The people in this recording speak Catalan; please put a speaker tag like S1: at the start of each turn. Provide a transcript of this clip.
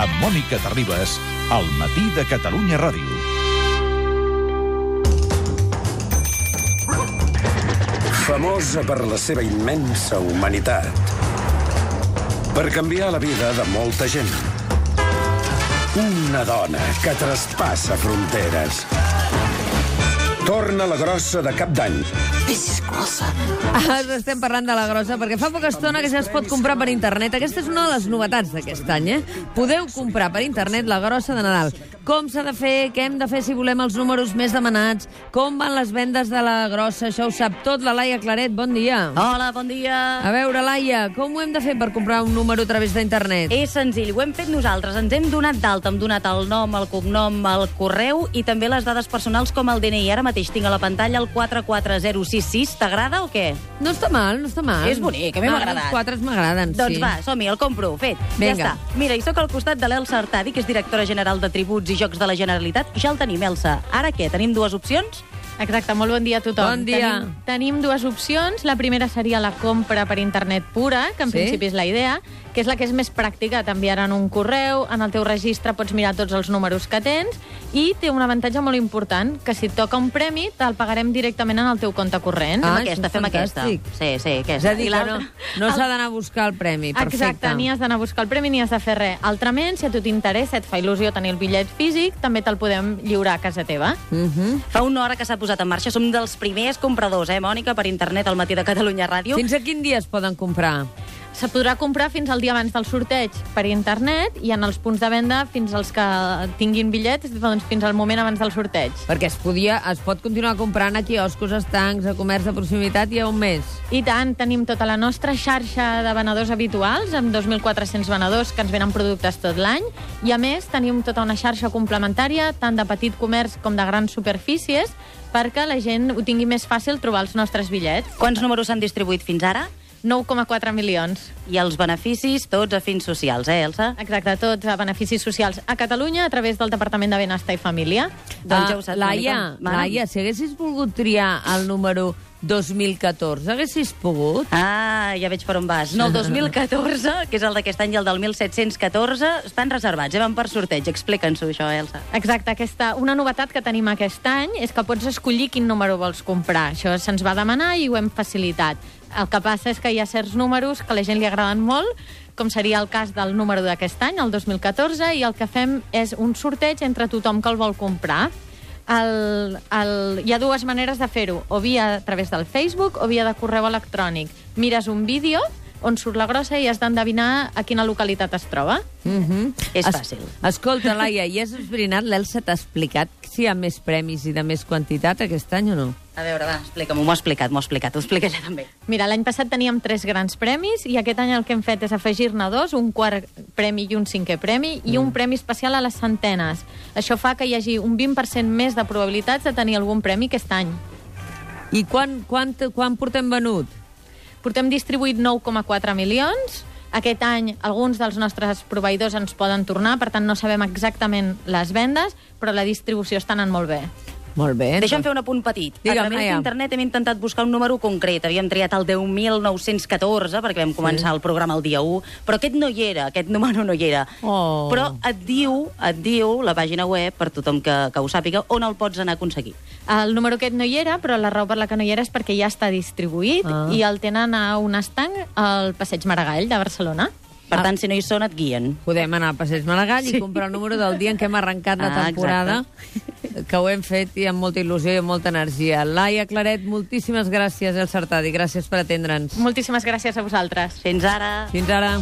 S1: amb Mònica Terribas, al matí de Catalunya Ràdio.
S2: Famosa per la seva immensa humanitat. Per canviar la vida de molta gent. Una dona que traspassa fronteres. Torna la grossa de cap d'any.
S3: Ah, Estem parlant de la grossa, perquè fa poca estona que ja es pot comprar per internet. Aquesta és una de les novetats d'aquest any, eh? Podeu comprar per internet la grossa de Nadal. Com s'ha de fer, què hem de fer si volem els números més demanats, com van les vendes de la grossa, això ho sap tot la Laia Claret. Bon dia.
S4: Hola, bon dia.
S3: A veure, Laia, com ho hem de fer per comprar un número a través d'internet?
S4: És senzill, ho hem fet nosaltres. Ens hem donat d'alta, hem donat el nom, el cognom, el correu i també les dades personals com el DNI. Ara mateix tinc a la pantalla el 440666. T'agrada o què?
S3: No està mal, no està mal.
S4: És bonic, a mi
S3: Ah,
S4: m'ha agradat.
S3: Els quatres m'agraden, sí.
S4: Doncs va, som-hi, el compro, fet.
S3: Vinga.
S4: Ja està. Mira, i sóc al costat de l'Elsa Artadi, que és directora general de Tributs i Jocs de la Generalitat. Ja el tenim, Elsa. Ara què? Tenim dues opcions?
S5: Exacte, molt bon dia a tothom.
S3: Bon dia.
S5: Tenim, tenim dues opcions. La primera seria la compra per internet pura, que en
S3: Sí?
S5: sí? principi és la idea, que és la que és més pràctica. T'enviaran un correu, en el teu registre pots mirar tots els números que tens i té un avantatge molt important, que si et toca un premi te'l pagarem directament en el teu compte corrent.
S3: Ah,
S4: Fem
S3: és
S4: aquesta, fem
S3: fantàstic.
S4: aquesta. Sí, sí,
S3: És
S4: aquesta.
S3: a dir,
S4: I
S3: que no,
S4: l'altra?
S3: no s'ha d'anar a buscar el premi. Perfecte.
S5: Exacte, ni has d'anar a buscar el premi ni has de fer res. Altrament, si a tu t'interessa, et fa il·lusió tenir el bitllet físic, també te'l podem lliurar a casa teva.
S3: Mhm.
S4: Fa una hora que s'ha posat en marxa. Som dels primers compradors, eh, Mònica, per internet al matí de Catalunya Ràdio.
S3: Fins a quin dia es poden comprar?
S5: Se podrà comprar fins al dia abans del sorteig per internet i en els punts de venda fins als que tinguin bitllets doncs, fins al moment abans del sorteig.
S3: Perquè es, podia, es pot continuar comprant a quioscos, a estancs, a comerç de proximitat i a un més.
S5: I tant, tenim tota la nostra xarxa de venedors habituals, amb 2.400 venedors que ens venen productes tot l'any, i a més tenim tota una xarxa complementària, tant de petit comerç com de grans superfícies, perquè la gent ho tingui més fàcil trobar els nostres bitllets.
S4: Quants números s'han distribuït fins ara?
S5: 9,4 milions.
S4: I els beneficis tots a fins socials, eh, Elsa?
S3: Ah,
S5: Exacte, tots a beneficis socials a Catalunya a través del Departament de Benestar i Família.
S4: Doncs ja ho
S3: Ah,
S4: saps,
S3: Laia,
S4: Mònica. Mana.
S3: Laia, si haguessis volgut triar el número 2014, haguessis pogut?
S4: Ah, ja veig per on vas. No, el 2014, que és el d'aquest any, i el del 1714, estan reservats, eh? van per sorteig. Explica'ns-ho, això, Elsa.
S5: Exacte, aquesta, una novetat que tenim aquest any és que pots escollir quin número vols comprar. Això se'ns va demanar i ho hem facilitat. El que passa és que hi ha certs números que a la gent li agraden molt, com seria el cas del número d'aquest any, el 2014, i el que fem és un sorteig entre tothom que el vol comprar. El, el, hi ha dues maneres de fer-ho, o via a través del Facebook o via de correu electrònic. Mires un vídeo on surt la grossa i has d'endevinar a quina localitat es troba.
S3: Mhm.
S4: És
S3: Es-
S4: fàcil.
S3: Escolta, Laia, i has esbrinat, l'Elsa t'ha explicat si hi ha més premis i de més quantitat aquest any o no?
S4: A veure, va, explica'm-ho. M'ho ha explicat, m'ho ha explicat. Ho explica ella també.
S5: Mira, l'any passat teníem tres grans premis i aquest any el que hem fet és afegir-ne dos, un quart premi i un cinquè premi i un premi especial a les centenes. Això fa que hi hagi un 20% més de probabilitats de tenir algun premi aquest any.
S3: I quan, quan, quan portem venut?
S5: Portem distribuït 9,4 milions. Aquest any alguns dels nostres proveïdors ens poden tornar, per tant no sabem exactament les vendes, però la distribució està anant molt bé.
S3: Molt bé.
S4: Deixa'm fer un apunt petit.
S3: Digue'm,
S4: a través
S3: Laia.
S4: d'internet hem intentat buscar un número concret. Havíem triat el 10.914, perquè vam començar sí. el programa el dia 1, però aquest no hi era, aquest número no hi era.
S3: Oh.
S4: Però et diu, et diu la pàgina web, per tothom que, que ho sàpiga, on el pots anar a aconseguir.
S5: El número aquest no hi era, però la raó per la que no hi era és perquè ja està distribuït
S3: Ah.
S5: ah. i el tenen a un estanc al Passeig Maragall de Barcelona.
S3: Ah.
S4: Per tant, si no hi són, et guien.
S3: Podem anar al Passeig Maragall sí. i comprar el número del dia en què hem arrencat la
S4: Ah,
S3: temporada, que ho hem fet i amb molta il·lusió i amb molta energia. Laia Claret, moltíssimes gràcies, El Sartadi. Gràcies per atendre'ns.
S5: Moltíssimes gràcies a vosaltres.
S4: Fins ara.
S3: Fins ara.